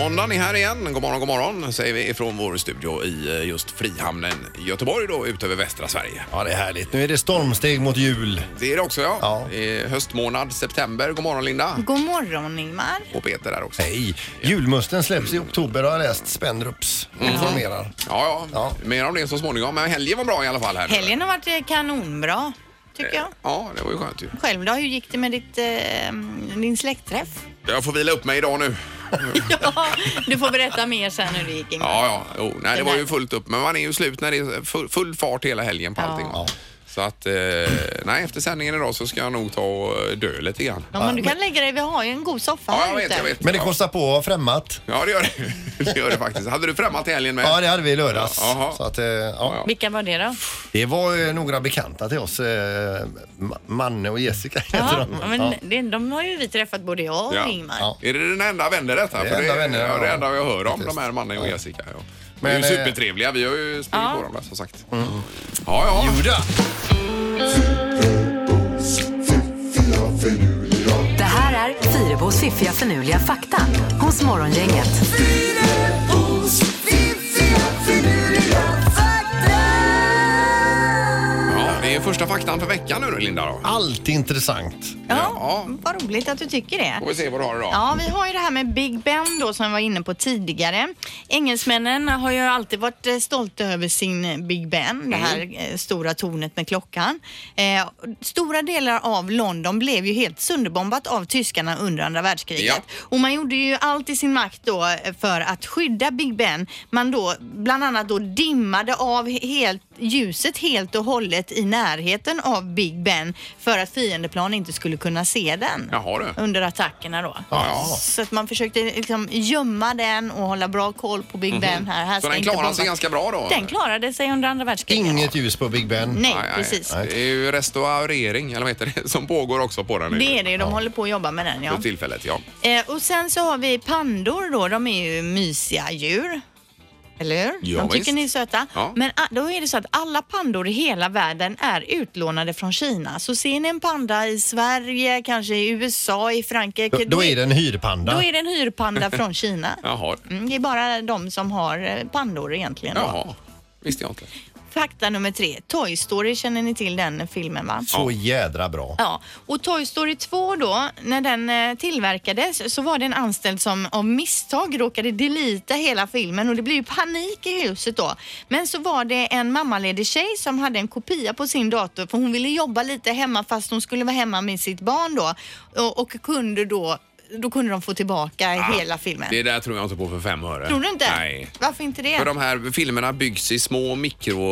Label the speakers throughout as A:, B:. A: Söndagen är här igen. God morgon, god morgon säger vi ifrån vår studio i eh, just Frihamnen i Göteborg då, utöver västra Sverige.
B: Ja, det är härligt. Nu är det stormsteg mot jul.
A: Det är det också ja.
B: Ja.
A: Det är höstmånad, september. God morgon Linda.
C: God morgon Ingmar.
A: Och Peter där också.
B: Nej, julmusten släpps i oktober har jag läst. Spendrups
A: Mm.
B: informerar.
A: Ja, ja.
B: Ja.
A: Mer om det så småningom. Men helgen var bra i alla fall. Här nu.
C: Helgen har varit eh, kanonbra tycker jag.
A: Ja, det var ju skönt ju.
C: Själv då, hur gick det med ditt, eh, din släktträff?
A: Jag får vila upp mig idag nu.
C: Ja, du får berätta mer sen hur det gick Ingmar.
A: Ja, ja. Jo, nej, det var ju fullt upp. Men man är ju slut när det är full, full fart hela helgen på
C: Ja.
A: allting. va. Så att, eh, nej, efter sändningen idag så ska jag nog ta och dö lite grann.
C: Ja, men du kan lägga dig, vi har ju en god soffa
A: Ja,
C: här
A: jag vet,
C: ute.
A: jag vet.
B: Men det kostar på att ha främmat.
A: Ja, det gör det. Det gör det faktiskt. Hade du främmat i helgen med?
B: Ja, det hade vi i lördags.
A: Jaha.
B: Så att, eh, ja.
C: Vilka var det då?
B: Det var ju några bekanta till oss. eh, Ma- Manne och Jessica heter
C: Ja,
B: de.
C: men
B: Ja.
C: det, de har ju vi träffat både jag och
A: Ja.
C: Ingmar.
B: Ja.
A: Är det den enda vänner detta?
B: Det är
A: För
B: enda vänner,
A: ja, det
B: ja.
A: enda jag hör om, de
B: Faktiskt.
A: här mannen och Jessica. Ja. Men,
B: Men,
A: de är
B: eh, Mm.
A: ju supertrevliga. Vi har ju sprungit
C: Ja.
A: på dem där, som sagt. Ja, ja.
B: Jodå.
D: Det här är Fyrabos fiffiga förnuliga fakta hos Morgongänget.
A: ja. Det är första faktan för veckan nu då, Linda. Då.
B: Allt intressant.
A: Ja.
C: Ja, vad roligt att du tycker det.
A: Får vi se vad du har idag.
C: Ja, vi har ju det här med Big Ben då som vi var inne på tidigare. Engelsmännen har ju alltid varit eh, stolta över sin eh, Big Ben, det här eh, stora tornet med klockan. Eh, stora delar av London blev ju helt sönderbombat av tyskarna under andra världskriget.
A: Ja.
C: Och man gjorde ju allt i sin makt då eh, för att skydda Big Ben. Man då bland annat då dimmade av helt, ljuset helt och hållet i närheten av Big Ben för att fiendeplan inte skulle kunna se den
A: Jaha du.
C: under attackerna då.
A: Ja.
C: Så att man försökte liksom gömma den och hålla bra koll på Big Ben här. här
A: Mhm. Så
C: ska
A: den
C: inte
A: klarar
C: bomba-
A: sig ganska bra då?
C: Den klarade sig under andra världskriget.
B: Inget ljus på Big Ben.
C: Nej,
A: Nej, nej.
C: precis.
A: Det är ju restaurering, eller vad heter det, som pågår också på den nu.
C: Det är det, de håller på att jobba med den ja.
A: För tillfället, ja.
C: Eh, och sen så har vi pandor då, de är ju mysiga djur. Eller hur?
A: Ja,
C: de tycker
A: visst.
C: ni är söta.
A: Ja.
C: Men ah, då är det så att alla pandor i hela världen är utlånade från Kina. Så ser ni en panda i Sverige, kanske i USA, i Frankrike.
B: Då, då är det en hyrpanda.
C: Då är det en hyrpanda från Kina.
A: Jaha.
C: Mm, det är bara de som har eh, pandor egentligen. då.
A: Jaha. Visste jag inte.
C: Fakta nummer tre. Toy Story känner ni till den filmen va?
B: Så jädra bra.
C: Ja, och Toy Story 2 då, när den eh, tillverkades så var det en anställd som av misstag råkade delita hela filmen och det blev ju panik i huset då. Men så var det en mammaledig tjej som hade en kopia på sin dator för hon ville jobba lite hemma fast hon skulle vara hemma med sitt barn då och, och kunde då, då kunde de få tillbaka hela filmen.
A: Ah, Det där tror jag inte på för fem öre.
C: Tror du inte?
A: Nej.
C: Varför inte det?
A: För de här filmerna byggs i små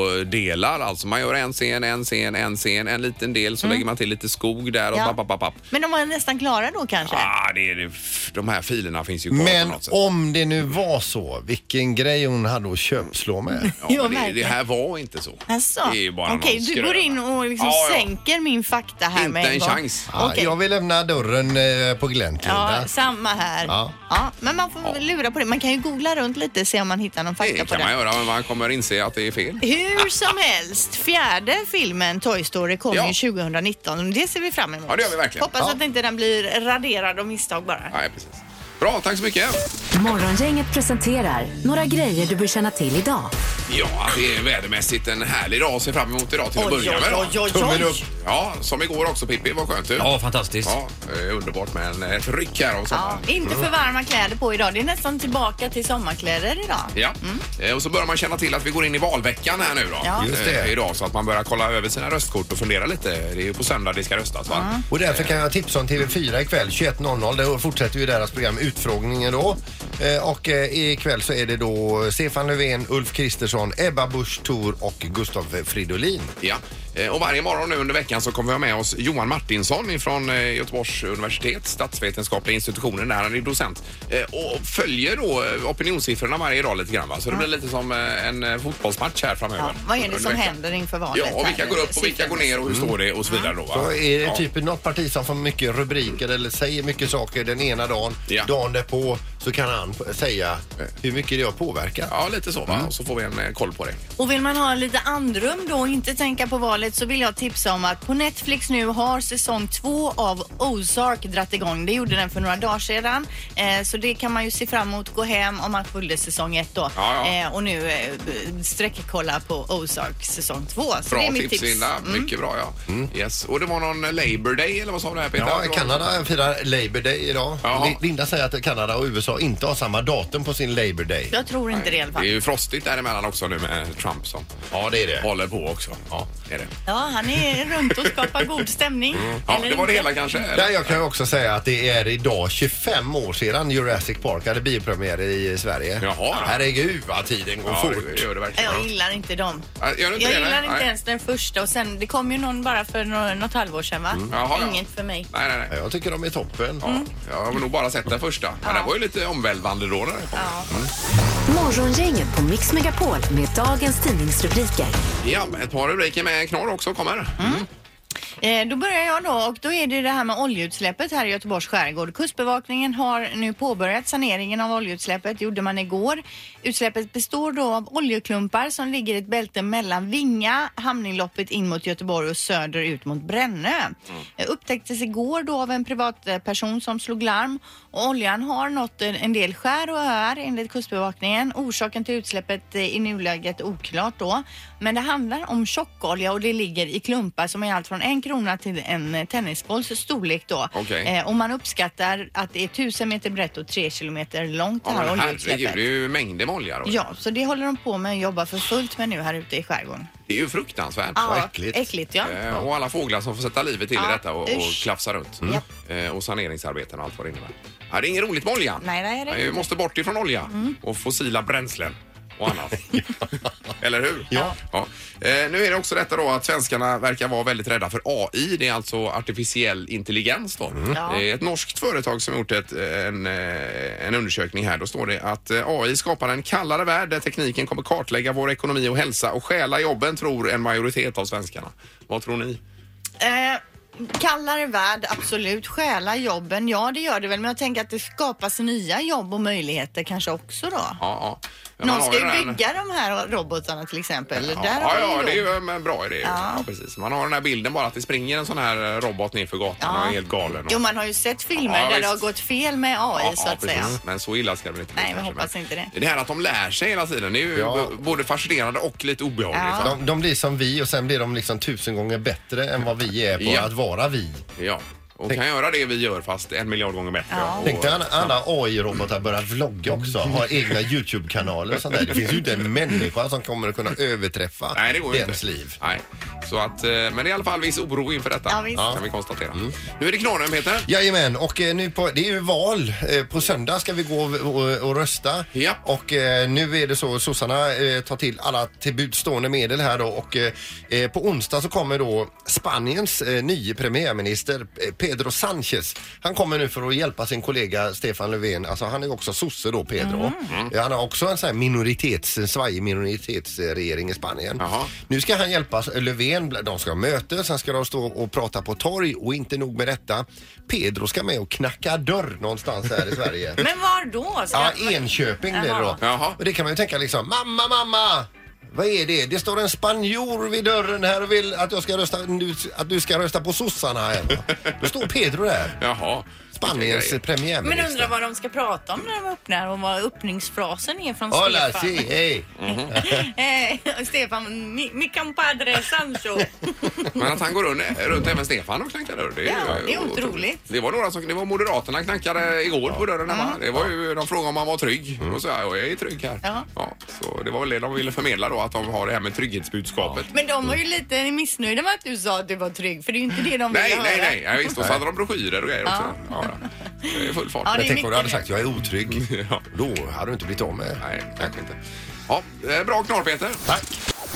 A: mikrodelar. Alltså man gör en scen, en scen, en scen, en liten del så lägger man till lite skog där och
C: Mm. Ja.
A: papp, papp, papp, papp.
C: Men de var nästan klara då kanske?
A: Ah, det är, det- f- de här filerna finns ju kvar på
B: Men
A: något sätt.
B: om det nu var så, vilken grej hon hade att köpslå med.
C: Ja,
A: Ja, men det, det
C: verkligen.
A: här var inte så.
C: Alltså,
A: Det är ju bara
C: okej
A: någon
C: du
A: skröna.
C: går in och liksom
A: Ja, ja.
C: sänker min fakta här
A: Inte
C: med en,
A: en
C: gång.
A: chans.
B: Ja,
C: Okej.
B: Jag vill lämna dörren eh, på glänt, Linda.
C: Ja, samma här. Ja.
B: Ja.
C: men man får väl lura på det. Man kan ju googla runt lite och se om man hittar någon fakta
A: Det
C: på
A: kan man
C: det.
A: göra men man kommer inse att det är fel.
C: Hur som helst, fjärde filmen Toy Story kom
A: Ja.
C: ju 2019. Det ser vi fram emot.
A: Ja, det gör vi verkligen.
C: Hoppas att inte den blir raderad av misstag bara.
A: Nej, precis. Bra, tack så mycket.
D: Morgongänget presenterar några grejer du bör känna till idag.
A: Ja, att det är vädermässigt en härlig dag att se fram emot idag till att
C: Oj,
A: börja med.
C: oj, oj,
A: då.
C: oj,
B: Tummen
C: oj.
B: upp.
A: Ja, som igår också Pippi, vad skönt du.
E: Ja, fantastiskt.
A: Ja, eh, underbart med en, ett ryck här och
C: Ja,
A: sommaren.
C: inte för varma kläder på idag. Det är nästan tillbaka till sommarkläder idag.
A: Ja, Eh, och så börjar man känna till att vi går in i valveckan här nu då.
C: Mm. Ja.
B: Just det.
A: Eh, Idag så att man börjar kolla över sina röstkort och fundera lite. Det är ju på söndag det ska röstas va?
B: Och därför kan jag tipsa om TV4 ikväll 21.00. Där fortsätter ju deras program Utfrågningen då. Eh, Och eh, ikväll så är det då Stefan Löfven, Ulf Kristersson, Ebba Busch Thor och Gustav Fridolin.
A: Ja. Eh, Och varje morgon nu under veckan så kommer vi ha med oss Johan Martinsson från Göteborgs universitet, statsvetenskapliga institutionen där han är docent. Eh, Och följer då eh, opinionssiffrorna varje dag lite grann va? Så det blir lite som eh, en eh, fotbollsmatch här framöver.
C: Ja, vad är det
A: Under
C: som
A: veckan.
C: händer inför valet?
A: Ja, och vilka
C: här?
A: går upp och vilka går ner och hur står det och
C: Mm.
A: så vidare då va?
B: Så är det
A: Ja.
B: typ något parti som får mycket rubriker eller säger mycket saker den ena dagen.
A: Ja.
B: Dagen därpå så kan han p- säga hur mycket det har påverkat. Mm.
A: Ja, lite så va. Och så får vi en eh, koll på det.
C: Och vill man ha lite andrum då och inte tänka på valet fallet så vill jag tipsa om att på Netflix nu har säsong två av Ozark dratt igång. Det gjorde den för några dagar sedan. Eh, så det kan man ju se fram emot, gå hem om man följde säsong ett då.
A: Ja, ja.
C: Eh, och nu eh, sträckkolla på Ozark säsong två. Så det
A: Bra
C: är
A: tips,
C: mitt tips. Mm.
A: Linda. Mycket bra ja. Yes. Och det var någon Labour Day eller vad sa du här Peter?
B: Mm. Ja,
A: Det var-
B: Kanada firar Labour Day idag.
A: Ja.
B: Li- Linda säger att Kanada och USA inte har samma datum på sin Labour Day.
C: Jag tror inte det i alla
A: Det är
C: fall.
A: ju frostigt däremellan också nu med Trump som
B: Ja, det är det.
A: håller på också. Ja, det är det. Mm.
C: Ja, han är runt och skapar god stämning.
A: Ja,
C: Eller
A: det var det
C: inte.
A: hela kanske. eller?
B: Där jag kan ju också säga att det är idag 25 år sedan Jurassic Park hade biopremiär i Sverige.
A: Jaha.
B: Herregud vad tiden går
A: Ja,
B: fort.
A: det gör det verkligen.
C: Jag gillar inte dem.
A: Ja, Gör du inte
C: Jag
A: det,
C: gillar
A: eller?
C: inte
A: Nej.
C: ens den första och sen det kom ju någon bara för nå- något halvår sedan va?
A: Mm. Jaha, ja.
C: Inget för mig.
A: Nej, nej,
B: Ja,
A: nej.
B: Jag tycker de är toppen.
C: Mm.
A: Jag har nog bara sett den första. Men den var ju lite omvälvande då. När den kom.
C: Ja.
D: Morgongänget på Mix Megapol med dagens tidningsrubriker.
A: Ja, men ett par rubriker med knorr också
C: Mm.
A: kommer. Mm.
C: Eh, Då börjar jag då och då är det det här med oljeutsläppet här i Göteborgs skärgård. Kustbevakningen har nu påbörjat saneringen av oljeutsläppet, gjorde man igår. Utsläppet består då av oljeklumpar som ligger i ett bälte mellan Vinga, hamninloppet in mot Göteborg och söder ut mot Brännö. Eh, Upptäcktes igår då av en privatperson som slog larm och oljan har nått en en del skär och öar enligt Kustbevakningen. Orsaken till utsläppet eh, i nuläget oklart då. Men det handlar om tjockolja och det ligger i klumpar som är allt från en krona till en eh, tennisbolls storlek då.
A: Okej.
C: Eh, och man uppskattar att det är 1000 meter brett och 3 kilometer långt det
A: Ja,
C: här
A: men herregud,
C: oljeutsläppet.
A: det är ju mängder med olja. Då.
C: Ja, så det håller de på med och jobbar för fullt med nu här ute i skärgården.
A: Det är ju fruktansvärt.
C: Ja,
B: äckligt.
C: äckligt ja.
A: Eh, Och alla fåglar som får sätta livet till i
C: Ja,
A: detta och, och
C: usch.
A: klafsa runt.
C: Japp.
A: Eh, Och saneringsarbeten och allt vad det innebär. Ja, det är inget roligt med oljan.
C: Nej, nej, det är
A: Vi
C: inte.
A: eh, måste bort ifrån olja och fossila bränslen och annat. Eller hur?
B: Ja.
A: Eh, Nu är det också detta då att svenskarna verkar vara väldigt rädda för AI. Det är alltså artificiell intelligens då.
C: Ja.
A: Det är ett norskt företag som gjort ett, en, eh, en undersökning här. Då står det att eh, AI skapar en kallare värld där tekniken kommer kartlägga vår ekonomi och hälsa och stjäla jobben tror en majoritet av svenskarna. Vad tror ni?
C: Eh, Kallare värld, absolut. Stjäla jobben, ja det gör det väl. Men jag tänker att det skapas nya jobb och möjligheter kanske också då.
A: Ja, ja. Men man
C: Någon
A: har
C: ska ju
A: den här-
C: bygga de här robotarna till exempel.
A: Ja,
C: Där
A: ja,
C: har vi
A: ja
C: då-
A: det är ju en bra idé. Ja.
C: Ja.
A: precis. Man har den här bilden bara att det springer en sån här eh, robot ner för gatan
C: Ja.
A: och är helt galen. Och...
C: Jo, man har ju sett filmer
A: Ja,
C: där
A: visst.
C: det har gått fel med AI
A: Ja,
C: så
A: ja,
C: att
A: precis. Mm.
C: säga.
A: Men så illa ska det väl inte
C: Nej, vi
A: kanske,
C: hoppas
A: men
C: inte det.
A: Det här att de lär sig hela tiden, det är ju
B: Ja.
A: b- både fascinerande och lite obehagligt.
C: Ja.
A: va?
B: De, de blir som vi och sen blir de liksom tusen gånger bättre än vad vi är på
A: Ja.
B: att vara vi.
A: Ja. Och kan göra det vi gör fast en miljard gånger bättre.
C: Ja.
A: Och-
B: Tänk dig alla- alla AI-robotar börjar vlogga också, har egna YouTube-kanaler och sånt där. Det finns ju inte en människa som kommer att kunna överträffa
A: Nej, det går ju
B: dens
A: inte.
B: liv.
A: Nej. Så att, eh, men det är i alla fall viss oro inför detta.
C: Ja, visst.
A: Kan vi konstatera.
B: Mm.
A: Nu är det knorren, Peter.
B: Jajamän, och eh, nu på, det är ju val. Eh, På söndag ska vi gå och, och, och rösta.
A: Ja.
B: Och eh, nu är det så, sossarna eh, tar till alla tillbudstående medel här då och eh, eh, på onsdag så kommer då Spaniens eh, nye premiärminister eh, Pedro Sanchez. Han kommer nu för att hjälpa sin kollega Stefan Löfven. Alltså han är också sosse då, Pedro.
A: Mm.
B: Eh, Han har också en sån här minoritets, en svajig minoritetsregering i Spanien.
A: Jaha.
B: Nu ska han hjälpa Löfven. De ska ha möte, sen ska de stå och prata på torg och inte nog med detta. Pedro ska med och knacka dörr någonstans här i Sverige.
C: Men var då? Ska...
B: Ja, Enköping blir det då.
A: Jaha.
B: Och det kan man ju tänka liksom, mamma, mamma! Vad är det? Det står en spanjor vid dörren här och vill att, jag ska rösta, nu- att du ska rösta på sossarna här. Då står Pedro där,
A: Jaha.
B: Spaniens
A: Vilka
C: Men
B: premiärminister.
C: undrar vad de ska prata om när de öppnar och vad öppningsfrasen är från
B: Hola,
C: Stefan.
B: si, hej!
C: Eh, Stefan, mi, mi compadre Sancho.
A: grejer. Men att han går runt, runt även Stefan och knackar dörr. Det är, ju,
C: Ja, det är
A: eh,
C: otroligt.
A: Det var några som, det var Moderaterna knackade igår på dörren hemma. Det var ju, de frågade om han var trygg.
B: Mm.
A: Och så sa jag, jag är trygg här.
C: Ja.
A: så det var väl det de ville förmedla då, att de har det här med trygghetsbudskapet.
C: Men de var ju lite missnöjda med att du sa att du var trygg för det är ju inte det de vill
A: Nej,
C: höra.
A: nej, nej, ja, visst. Och så hade de broschyrer och grejer också. Ja, ja. Det är full fart.
C: Ja, det
B: Men
C: är
B: tänk om du hade
C: mycket
B: sagt jag är otrygg.
A: Ja.
B: Då hade du inte blivit av med.
A: Nej, kanske inte. Ja, eh, bra knorr, Peter.
B: Tack!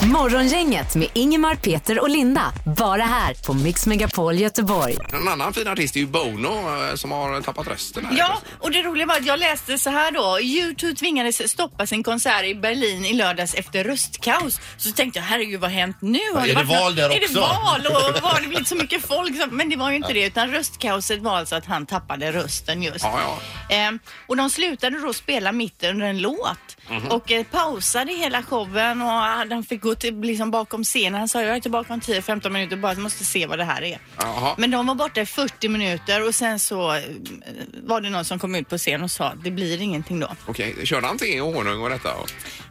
D: Morgongänget med Ingemar, Peter och Linda. Bara här på Mix Megapol Göteborg.
A: En annan fin artist är ju Bono eh, som har tappat rösten. Här.
C: Ja, och det roliga var att jag läste så här då. U2 tvingades stoppa sin konsert i Berlin i lördags efter röstkaos. Så tänkte jag, herregud vad har hänt nu? Har
B: är det
C: varit
B: val
C: nå-
B: där
C: Är
B: också?
C: det val och har det blivit så mycket folk? som- Men det var ju inte det, utan röstkaoset var alltså att han tappade rösten just.
A: Ja, ja.
C: Ehm, och de
B: Mhm.
C: slutade då spela mitt under en låt och eh, pausade hela showen och han han fick gå till, liksom bakom scenen. Han sa jag är tillbaka om 10-15 minuter bara, jag måste se vad det här är.
A: Jaha.
C: Men de var borta i 40 minuter och sen så eh, var det någon som kom ut på scen och sa det blir ingenting då.
A: Okej, körde han te och honung och detta? Och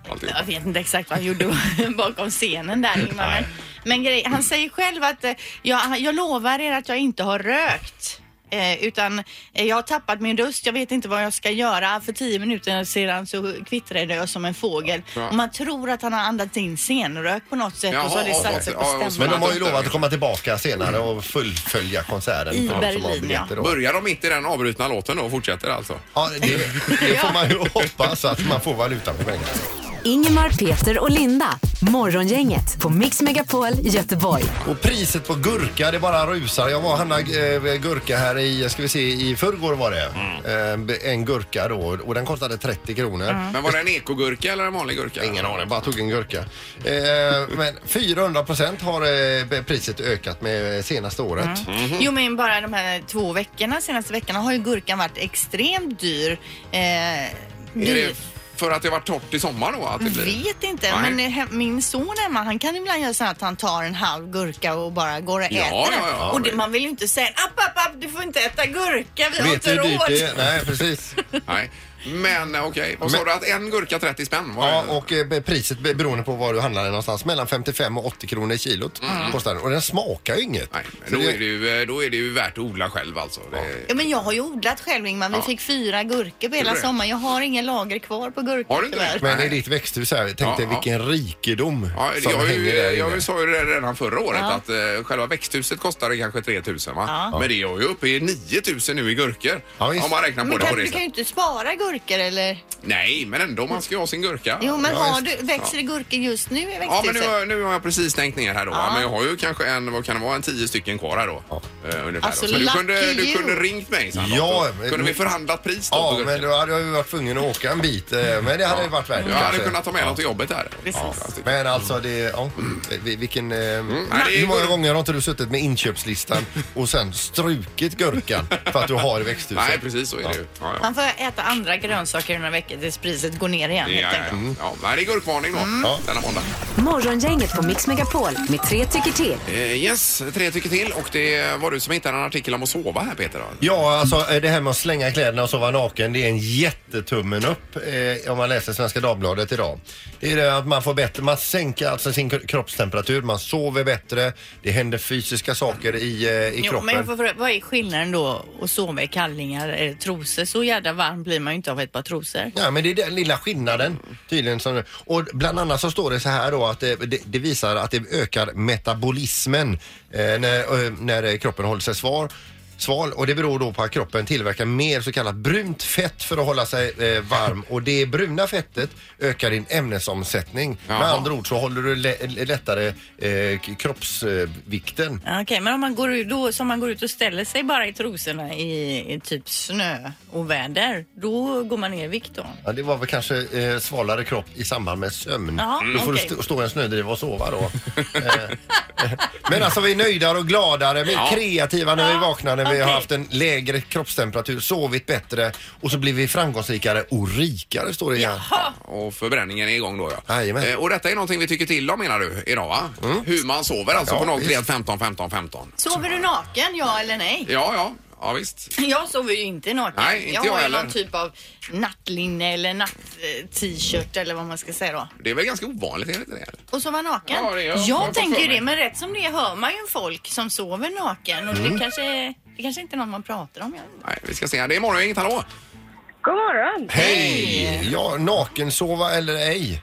A: alltihop?
C: Jag vet inte exakt vad han gjorde bakom scenen där Ingmar. Men, men grej, han säger själv att eh, jag, jag lovar er att jag inte har rökt. Eh, utan eh, jag har tappat min röst, jag vet inte vad jag ska göra. För tio minuter sedan så kvittrade jag som en fågel.
A: Ja.
C: Och man tror att han har andats in senrök på något sätt och så har det
A: Jaha,
C: satt sig
A: ja, ja,
C: på
A: och så-
B: Men
C: stämman.
B: de har ju lovat att komma tillbaka senare och fullfölja konserten.
C: I
B: för de som har
C: Berlin,
B: biljetter
C: ja.
B: då. Mm.
A: Börjar de mitt i den avbrutna låten då och fortsätter alltså?
B: Ja, det, det får man ju hoppas att man får valuta för pengarna.
D: Ingemar, Peter och Linda. Morgongänget på Mix Megapol Göteborg.
B: Och priset på gurka, det bara rusar. Jag var och handlade eh, gurka här i, ska vi se, i förrgår var det. Eh, en gurka då och den kostade 30 kronor.
A: Men var det en ekogurka eller en vanlig gurka?
B: Ingen aning, bara tog en gurka. Eh, men 400 procent har eh, priset ökat med senaste året.
A: Mhm.
C: Jo men bara de här två veckorna, senaste veckorna har ju gurkan varit extremt dyr. Eh,
A: Är
C: dyr.
A: det för att det var torrt i sommar då? Att det blir?
C: Vet inte,
A: Nej.
C: men eh, he- min son Emma han kan ibland göra så här att han tar en halv gurka och bara går och äter
A: ja,
C: den.
A: ja,
C: och det,
A: det-
C: man vill ju inte säga app, app, app, du får inte äta gurka, vi har
B: Vet du
C: inte
B: hur dyrt det är?
C: råd.
B: Nej, precis.
A: Nej. Men eh, okej, vad sa
B: Men-
A: du att en gurka 30 spänn? Var
B: Ja, och eh, priset be- beroende på var du handlar den någonstans. Mellan 55 och 80 kronor kilot kostar den. Och den smakar ju inget.
A: Mm. Nej,
B: Så
A: då,
B: det-
A: är det ju, eh, då är det ju värt att odla själv alltså. Det...
C: Ja, men jag har ju odlat själv Ingmar, vi
A: Ja.
C: fick fyra gurkor på hela
A: du det?
C: sommaren. Jag har inga lager kvar på gurkor
A: Har du inte det?
C: tyvärr.
B: Men i ditt växthus här, tänk dig
A: Ja, ja.
B: vilken rikedom
A: Ja,
B: som
A: jag,
B: hänger
A: ju,
B: där inne.
A: jag sa ju det redan förra året
C: Ja.
A: att eh, själva växthuset kostade kanske 3 000 va?
C: Ja.
A: Men det är ju uppe i 9 000 nu i gurkor.
B: Ja, visst.
A: om man räknar på
C: Men
A: det på
C: kan,
A: det
C: du kan ju
A: sättet.
C: inte spara gurkor eller?
A: Nej, men ändå man ska ju ha sin gurka.
C: Jo men
B: ja,
C: har
B: visst.
C: du, växer det gurkor just nu i växthuset?
A: Ja, men nu, har- nu har jag precis stängt ner här då. va? Men jag har ju kanske en, vad kan det vara, en tio stycken kvar här då. Eh, ungefär.
C: Alltså,
A: så du
C: lucky
A: kunde, du
C: you.
A: kunde ringt mig Sandra.
B: Ja,
A: Då
B: men-
A: Kunde vi förhandlat pris då? på
B: Ja,
A: gurkorna?
B: men då hade jag ju varit tvungen att åka en bit. eh, Men det hade ju varit värt det
A: Jag hade
B: kanske.
A: kunnat ta med dem till jobbet här. Ja.
B: Men alltså, det, ja, vi- vilken... eh,
A: Mm. Nej, det är
B: hur många
A: gurka.
B: gånger har inte du suttit med inköpslistan och sen strukit gurkan för att du har i växthuset?
A: Nej, precis så är det ju. Ja, ja.
C: Man får äta andra grönsaker i några veckor tills priset går ner igen
A: Ja, ja,
C: helt
A: ja.
C: enkelt.
A: Ja, men det är gurkvarning då,
B: Mm.
A: denna måndag.
D: Morgongänget på Mix Megapol med tre tycker till.
A: Eh, yes, tre tycker till och det var du som hittade en artikel om att sova här Peter. Då.
B: Ja, alltså eh, det här med att slänga kläderna och sova naken, det är en jättetummen upp eh, om man läser Svenska Dagbladet idag. Det är det att man får bättre, man sänker alltså sin kro- kroppstemperatur, man sover bättre, det händer fysiska saker i, eh, i
C: Jo, men
B: kroppen.
C: jag får fråga, vad är skillnaden då att sova i kallingar eller trosor? Så jädra varm blir man ju inte av ett par trosor.
B: Ja, men det är den lilla skillnaden tydligen. Som, och bland annat så står det så här då att det, det, det visar att det ökar metabolismen eh, när, eh, när kroppen håller sig svar, sval och det beror då på att kroppen tillverkar mer så kallat brunt fett för att hålla sig eh, varm och det bruna fettet ökar din ämnesomsättning. Med
A: Jaha.
B: andra ord så håller du lä- lättare eh, k- kroppsvikten.
C: Ja, Okej, men om man, går ut, då, så om man går ut och ställer sig bara i trosorna i, i typ snö och väder, då går man ner i vikt då?
B: Ja, det var väl kanske eh, svalare kropp i samband med sömn.
C: Jaha,
B: då får
C: okej.
B: du st- stå i en snödriva och sova då. Eh, Men alltså vi är nöjdare och gladare, vi är
A: Ja.
B: kreativa när vi vaknar när vi har
C: okej.
B: haft en lägre kroppstemperatur, sovit bättre och så blir vi framgångsrikare och rikare står det igen.
A: Och förbränningen är igång då ja.
B: Jajamän. Mm.
A: Eh, och detta är någonting vi tycker till om menar du idag va? Hur man sover alltså
B: Ja,
A: på 03
B: visst.
A: 15 15 15.
C: Sover du naken, ja eller nej?
A: Ja, ja, ja visst.
C: Jag sover ju inte naken.
A: Nej, inte jag
C: har ju
A: heller.
C: någon typ av nattlinne eller natt-t-shirt eller vad man ska säga då.
A: Det är väl ganska ovanligt, är det inte det?
C: Och sova naken?
A: Ja, det gör jag.
C: jag
A: Jag får
C: tänker
A: för
C: ju
A: mig.
C: det, men rätt som det är hör man ju folk som sover naken och
A: Mm.
C: det kanske, det kanske inte är någon man pratar om. Jag vet inte.
A: Nej, vi ska se. här. Det är morgon, inget hallå?
E: God morgon!
B: Hej! Ja, nakensova eller ej?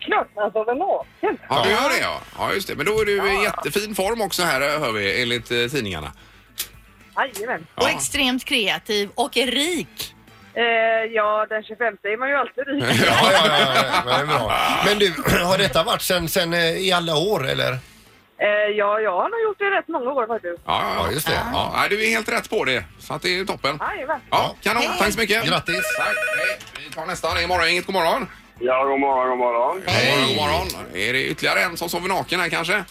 E: Klart man sover naken.
A: Ja, du gör det ja. Ja, just det. Men då är du i jättefin form också här, hör vi, enligt eh, tidningarna.
E: Jajamän.
A: Ja.
C: Och extremt kreativ och är rik.
E: Eh, ja, den 25 är man ju alltid rik.
B: Ja, ja, ja, ja, men det är bra. Men du, har detta varit sen, sen eh, i alla år eller?
E: Eh, ja, jag har nog gjort det rätt många år faktiskt.
A: Ja, ja,
B: Ja, just det.
A: Ja, nej, du är helt rätt på det. Så att det är toppen.
E: Jajamän.
A: Ja, kanon. Tack så mycket.
B: Grattis.
A: Tack. Hej. Vi tar nästa. Det är morgon, inget god morgon.
F: Ja, god morgon, god morgon.
A: Hej. God morgon, god morgon. Är det ytterligare en som sover naken här kanske?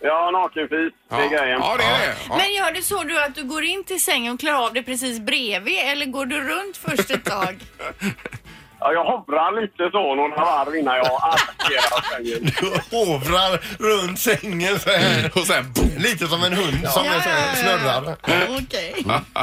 F: Ja, nakenfis, det är grejen.
A: Ja, det är det. Ja.
C: Men gör det så du att du går in till sängen och klarar av det precis bredvid eller går du runt först ett tag?
F: Ja, jag hovrar lite så några varv innan jag attackerar sängen.
B: Du hovrar runt sängen så här.
A: Och sen boom!
B: Mm. Lite som en hund som är så här, snurrar.
C: Okej.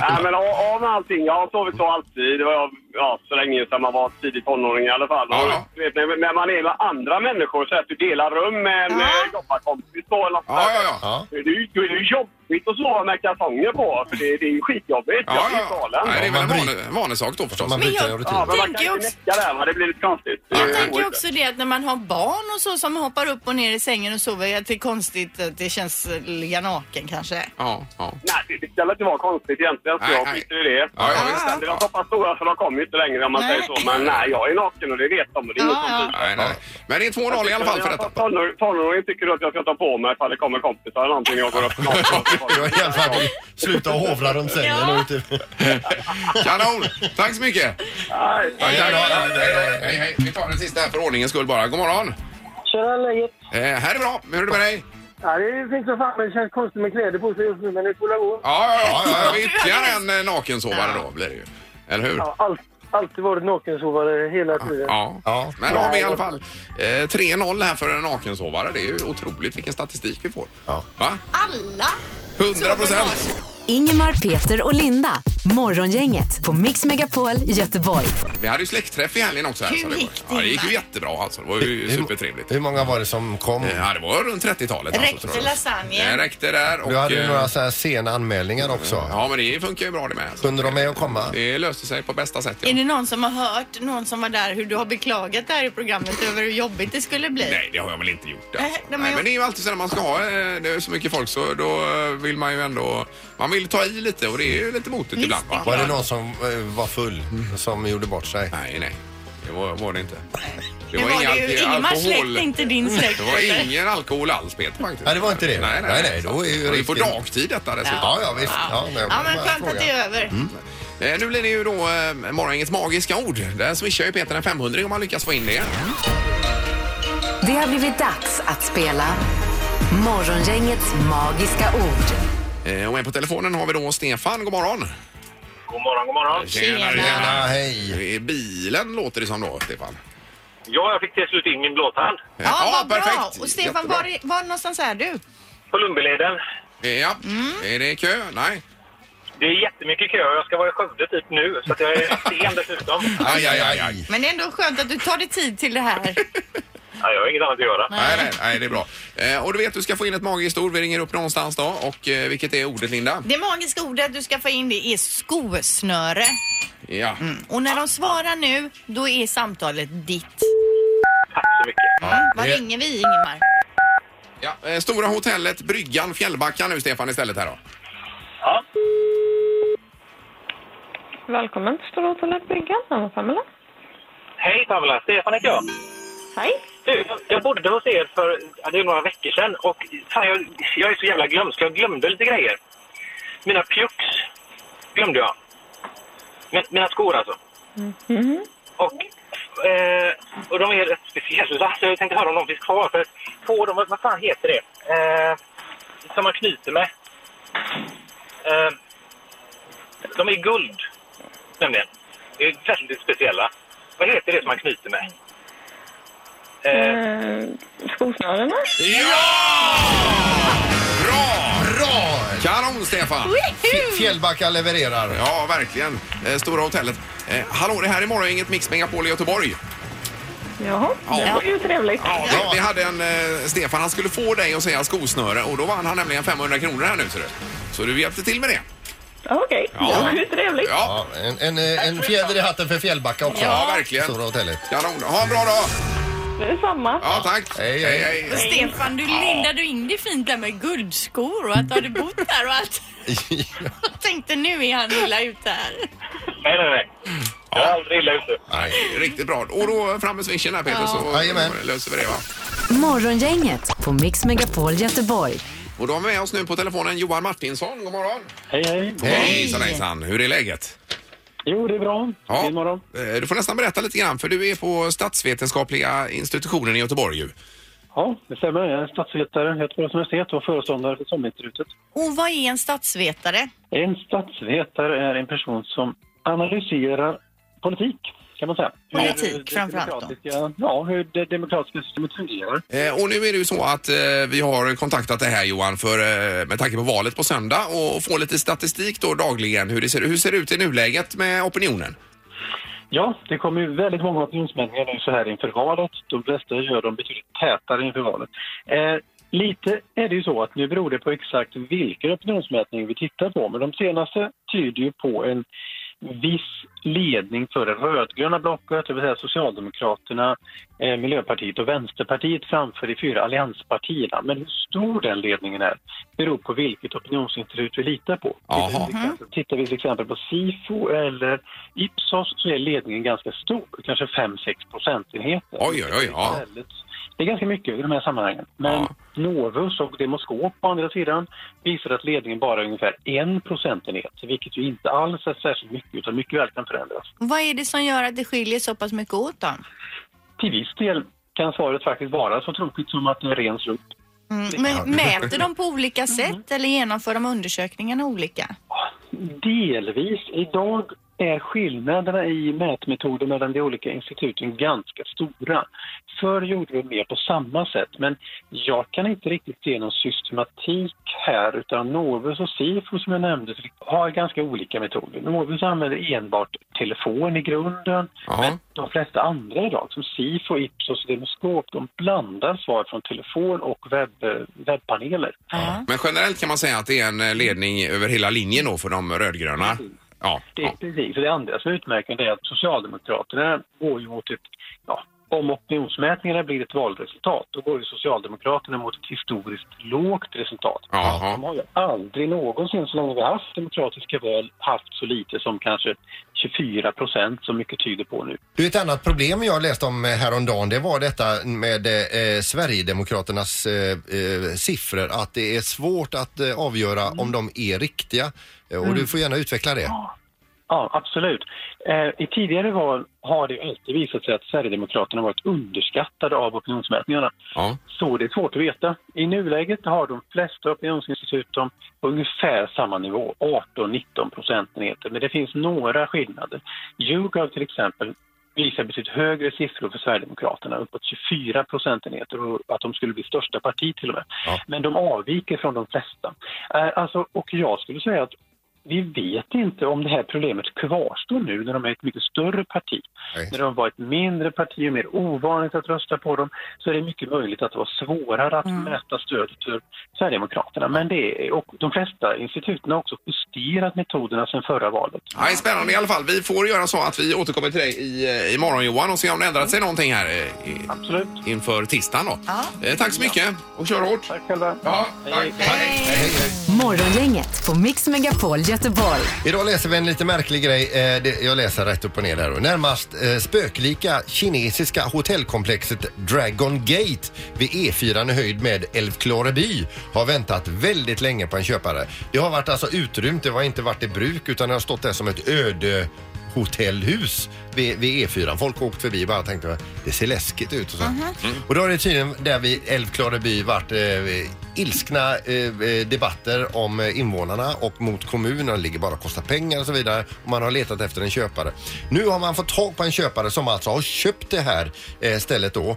F: Nej, men av, av med allting. Jag har sovit så alltid. Och jag, ja, så länge sedan man var tidig tonåring i alla fall.
A: Ja,
F: Och,
A: ja.
F: du vet, när, när man är med andra människor så att du delar rum med en
C: Ja.
F: eh, jobbarkompis då eller något
A: Ja,
F: sånt.
A: ja, ja.
B: Ja.
F: Det är ju det är ju jobbigt att sova med kalsonger på. För det, det är ju skitjobbigt.
A: ja,
F: jag blir
A: ja.
F: galen.
A: Nej, det är väl en
B: Man
A: vane- vanesak då förstås.
B: Man
C: Men
B: byter
C: jag-
F: Ja,
B: rutin.
F: men man
C: Tänker
F: kan
C: jag
F: inte
C: också-
F: näcka där, va? det blir lite konstigt.
A: Jag
F: Det
C: Jag
F: går
C: tänker
F: inte.
C: också det att när man har barn och så som hoppar upp och ner i sängen och sover att det är konstigt att det känns eh, ligga naken kanske.
A: Ja, ja.
F: Nej, det- det ska väl inte vara konstigt egentligen, så
A: Nej,
F: jag
A: nej.
F: skiter i det.
A: Ja, ja, visst.
F: De är så pass stora så de kommer ju inte längre om man
C: Nej.
F: säger så. Men nej, jag är naken och det vet de och det är
C: Ja,
F: inget
C: ja.
F: som tyder.
A: Nej, nej. nej. Men det är 2-0 i alla fall för detta.
F: Tonår- Tonåringen tycker att jag ska ta på mig ifall det kommer kompisar eller någonting och jag går upp
B: Det var i alla fall att sluta hovra runt sängen och inte...
A: Kanon! Tack så mycket!
F: Nej.
A: Tack, tack. Hej, hej, hej. Vi tar den sista här för ordningens skull bara. God morgon!
G: Tjena läget?
A: Eh, här är bra. Hur är det med dig?
G: Ja, det är fint som fan men det känns konstigt med kläder på sig just nu men det får väl gå.
A: Ja, ja, ja. ja. Vi är Ytterligare en eh, nakensovare då blir det ju. Eller hur?
G: Ja, allt, alltid varit nakensovare hela tiden.
A: Ja.
B: Ja.
A: Men då har vi i alla fall eh, 3-0 här för en nakensovare. Det är ju otroligt vilken statistik vi får.
B: Ja.
A: Va?
C: Alla!
A: 100 procent!
D: Ingemar, Peter och Linda. Morgongänget på Mix Megapol Göteborg.
A: Vi hade ju släktträff i helgen också. Här,
C: Hur
A: så det, var,
C: gick det,
A: ja, det gick ju
C: Ingmar?
A: jättebra alltså. Det var ju supertrevligt. Eh,
B: Hur många var det som kom?
A: Ja, det var runt 30-talet.
C: Räckte
A: tror jag. Det
C: lasagnen?
A: räckte där. Och,
B: Du hade ju
A: eh,
B: några så här sena anmälningar också.
A: Ja, men det funkar ju bra det med. alltså.
B: Kunde de med att komma?
A: Det löste sig på bästa sätt. Ja.
C: Är det någon som har hört, någon som var där, hur du har beklagat det här i programmet över hur jobbigt det skulle bli?
A: Nej, det har jag väl inte gjort. Alltså.
C: Äh, Nej,
A: Nej,
C: men
A: men,
C: jag-
A: det är ju alltid så när man ska ha eh, det är så mycket folk så då eh, vill man ju ändå... Man vill ta i lite och det är ju lite motigt ibland. Va?
B: Var det någon som eh, var full som gjorde bort sig?
A: Nej, nej. Det var, var det inte.
C: Det var det ju Ingemars släkt, inte din släkt.
A: Mm. Det var ingen alkohol alls, Peter. Faktiskt.
B: Nej, det var inte det.
A: Nej, nej.
B: Nej, nej, då är ju
A: det är på
B: riktigt-
A: dagtid detta dessutom.
B: Ja, ja visst. Ja, men,
C: Ja, men skönt att det är över.
A: Eh, Nu blir det ju då eh, morgongängets magiska ord. Där swishar ju Peter en 500 om man lyckas få in det.
D: Det har blivit dags att spela Morgongängets magiska ord.
A: Eh, Och en på telefonen har vi då Stefan. God morgon.
F: God morgon, god morgon.
C: Tjena.
B: Ja, hej.
A: I bilen låter det som då, Stefan.
F: Ja, jag fick till slut in min blåtand.
A: Eh,
C: Ja, vad bra.
A: perfekt.
C: Och Stefan,
A: Jättebra.
C: var, är- var någonstans är du?
F: På Lundbyleden.
A: Eh, Ja,
C: Mm.
A: är det kö? Nej.
F: Det är jättemycket kö och jag ska vara i Skövde typ nu så att jag är sen dessutom.
A: Aj, aj, aj, aj.
C: Men det är ändå skönt att du tar dig tid till det här.
F: Ja, jag har inget annat att göra.
A: Nej, nej, nej, det är bra. Eh, och du vet, du ska få in ett magiskt ord. Vi ringer upp någonstans då. Och eh, vilket är ordet, Linda?
C: Det magiska ordet du ska få in det är skosnöre.
A: Ja.
C: Och när de svarar nu, då är samtalet ditt.
F: Tack så mycket.
C: Var
B: Det-
C: ringer vi Ingemar?
A: ja. Eh, Stora hotellet, Bryggan, Fjällbacka nu, Stefan, istället här då.
F: Ja.
H: Välkommen till Stora hotellet Bryggan. Här var Pamela.
F: Hej Pamela, Stefan heter jag.
H: Hej.
F: Du, jag bodde hos er för ja, det är några veckor sedan och fan, jag, jag är så jävla glömsk. Jag glömde lite grejer. Mina pjucks glömde jag. Min, mina skor alltså. Och, eh, och de är rätt speciella så alltså, jag tänkte höra om de finns kvar. För på dem, vad vad fan heter det? Eh, som man knyter med. Eh, de är i guld nämligen. Det är väldigt speciella. Vad heter det som man knyter med? Eh,
H: Eh, skosnörena?
A: Bra!
B: Bra!
A: Kanon, Stefan!
B: F- Fjällbacka levererar.
A: Ja, verkligen. Eh, Stora hotellet. Eh, hallå, det här är morgon, inget Mix Megapol i Göteborg.
H: Jaha, det var ju trevligt.
A: Ja, vi, vi hade en eh, Stefan, han skulle få dig att säga skosnöre och då vann han nämligen 500 kronor här nu, ser du. Så du hjälpte till med det.
H: Okej, det var ju trevligt.
A: Ja,
B: Ja, en, en, eh, en fjäder i hatten för Fjällbacka också.
A: Ja, verkligen.
B: Stora hotellet.
A: kanon. Ha en bra dag!
H: Det är samma.
A: Ja, tack.
B: Hej, hej.
C: Stefan, du lindade in det fint där med guldskor och att du hade bott där och allt. Jag tänkte nu är han illa ute här.
F: Nej, nej, nej. Jag är aldrig illa ute.
A: Nej, Riktigt bra. Och då fram med swishen här Peter så
B: Jajamän.
A: löser vi det va.
D: Morgongänget på Mix Megapol Göteborg.
A: Och då har vi med oss nu på telefonen Johan Martinsson. God morgon.
I: Hej, hej.
A: Hejsan hejsan. Hur är läget?
I: Jo, det är bra. Fin morgon.
A: Eh, Du får nästan berätta lite grann för du är på Statsvetenskapliga institutionen i Göteborg ju.
I: Ja, det stämmer. Jag är statsvetare, Göteborgs universitet och föreståndare för SOM-institutet.
C: Och vad är en statsvetare?
I: En statsvetare är en person som analyserar politik kan man säga.
C: Politik
I: det
C: framförallt då.
I: demokratiska- Ja, hur det demokratiska systemet fungerar.
A: Eh, Och nu är det ju så att eh, vi har kontaktat det här Johan för, eh, med tanke på valet på söndag och få lite statistik då dagligen hur det ser, hur ser det ut i nuläget med opinionen.
I: Ja, det kommer ju väldigt många opinionsmätningar nu så här inför valet. De flesta gör dem betydligt tätare inför valet. Eh, lite är det ju så att nu beror det på exakt vilken opinionsmätning vi tittar på, men de senaste tyder ju på en viss ledning för det rödgröna blocket, det vill säga Socialdemokraterna, eh, Miljöpartiet och Vänsterpartiet framför de fyra allianspartierna. Men hur stor den ledningen är beror på vilket opinionsinstitut vi litar på.
A: Jaha.
I: Till exempel- Tittar vi till exempel på SIFO eller Ipsos så är ledningen ganska stor, kanske 5-6 procentenheter.
A: Oj, oj, oj. Ja.
I: Väldigt- Det är ganska mycket i de här sammanhangen. Men
A: Ja.
I: Novus och Demoskop å andra sidan visar att ledningen bara är ungefär 1 procentenhet, vilket ju inte alls är särskilt mycket utan mycket väl kan förändras.
C: Vad är det som gör att det skiljer så pass mycket åt då?
I: Till viss del kan svaret faktiskt vara så tråkigt som att det är en ren slump.
C: Mm. Men mäter de på olika
I: Mm.
C: sätt eller genomför de undersökningarna olika?
I: Delvis. Idag är skillnaderna i mätmetoder mellan de olika instituten ganska stora. Förr gjorde vi mer på samma sätt, men jag kan inte riktigt se någon systematik här utan Novus och Sifo som jag nämnde har ganska olika metoder. Novus använder enbart telefon i grunden.
A: Jaha.
I: De flesta andra idag, som Sifo, Ipsos och Demoskop, de blandar svar från telefon och webb, webbpaneler.
A: Men generellt kan man säga att det är en eh, ledning över hela linjen då för de rödgröna. Ja,
I: Det,
A: ja.
I: Precis. Och det andra som är utmärkande är att Socialdemokraterna går ju mot ett... Ja, om opinionsmätningarna blir ett valresultat, då går ju Socialdemokraterna mot ett historiskt lågt resultat. De
A: Jaha.
I: har ju aldrig någonsin, så länge vi har haft demokratiska val, haft så lite som kanske 24 procent, som mycket tyder på nu.
B: Du, ett annat problem jag läste om häromdagen det var detta med eh, Sverigedemokraternas eh, eh, siffror. Att det är svårt att eh, avgöra om de är riktiga. Eh, och du får gärna utveckla det.
I: Ja, absolut. Eh, I tidigare val har det alltid visat sig att Sverigedemokraterna varit underskattade av opinionsmätningarna.
A: Ja.
I: Så det är svårt att veta. I nuläget har de flesta opinionsinstituten på ungefär samma nivå, 18-19 procentenheter. Men det finns några skillnader. YouGov till exempel visar betydligt högre siffror för Sverigedemokraterna, uppåt 24 procentenheter och att de skulle bli största parti till och med.
B: Ja.
I: Men de avviker från de flesta. Eh, Alltså, och jag skulle säga att vi vet inte om det här problemet kvarstår nu när de är ett mycket större parti.
B: Nej.
I: När de var ett mindre parti och mer ovanligt att rösta på dem så är det mycket möjligt att det var svårare att mäta stödet för Sverigedemokraterna. Men det är, och de flesta instituten har också justerat metoderna sedan förra valet.
A: Ja, det är spännande i alla fall. Vi får göra så att vi återkommer till dig i, eh, imorgon Johan och se om det ändrat sig någonting här eh, i,
I: Absolut.
A: inför tisdagen då.
C: Ja.
A: Eh, Tack så mycket och kör hårt.
I: Tack själva.
A: Ja, tack. Hej.
D: Morgongänget på Mix Megapol Göteborg.
B: Idag läser vi en lite märklig grej. Eh, det, jag läser rätt upp och ner här. då. Närmast eh, spöklika kinesiska hotellkomplexet Dragon Gate vid E4 i höjd med Älvklareby har väntat väldigt länge på en köpare. Det har varit alltså utrymt, det har inte varit i bruk utan det har stått där som ett öde hotellhus vid, vid E4. Folk har åkt förbi och bara tänkte det ser läskigt ut. Och, så. och då har det tydligen där vid Älvklareby varit eh, ilskna eh, eh, debatter om eh, invånarna och mot kommunen. Det ligger bara och kostar pengar och så vidare. Och man har letat efter en köpare. Nu har man fått tag på en köpare som alltså har köpt det här eh, stället då. Eh,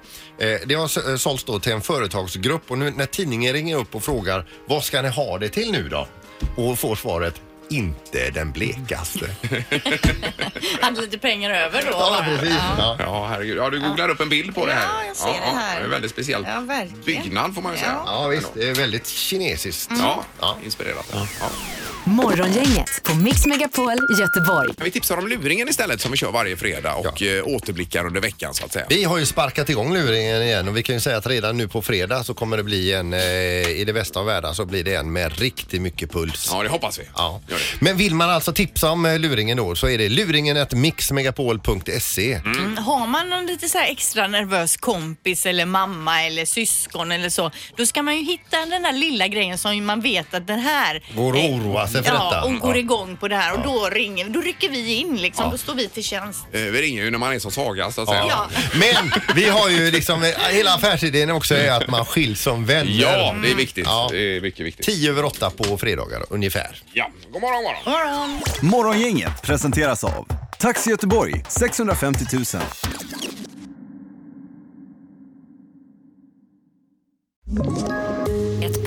B: det har s- eh, sålts då till en företagsgrupp och nu när tidningen ringer upp och frågar vad ska ni ha det till nu då? Och får svaret inte den blekaste.
C: Hade lite pengar över då?
B: Ja,
C: bara.
B: precis. Ja.
A: Ja, herregud. Ja, du googlar upp en bild på det här.
C: Ja, jag ser det här.
A: det är en väldigt speciell
C: Ja, verkligen.
A: byggnad får man ju säga.
B: Ja, visst. Det är väldigt kinesiskt.
A: Ja,
B: Ja.
A: inspirerat. Ja.
D: Morgongänget på Mix Megapol Göteborg.
A: Vi tipsar om luringen istället som vi kör varje fredag och eh, återblickar under veckan så att säga.
B: Vi har ju sparkat igång luringen igen och vi kan ju säga att redan nu på fredag så kommer det bli en, eh, i det bästa av världar så blir det en med riktigt mycket puls.
A: Ja, det hoppas vi.
B: Ja.
A: Gör det.
B: Men vill man alltså tipsa om eh, luringen då så är det luringen.mixmegapol.se.
A: Mm.
C: Mm, Har man någon lite så här extra nervös kompis eller mamma eller syskon eller så, då ska man ju hitta den där lilla grejen som man vet att den här...
B: Går och
C: eh,
B: oroar sig för
C: Ja,
B: detta.
C: och går
B: Ja.
C: igång på det här och då ringer då rycker vi in liksom, då står vi till tjänst.
A: Eh, Vi ringer ju när man är som svagast så att säga.
C: Ja.
B: Men vi har ju liksom, eh, hela affärsidén också är att man skiljs som vänner.
A: Ja, det är viktigt.
B: Mm. Ja.
A: Det är mycket viktigt.
B: Tio över åtta på fredagar ungefär.
A: Ja, god morgon, god morgon.
C: God morgon!
J: Morgongänget presenteras av
K: Taxi Göteborg 650 000.
D: Ett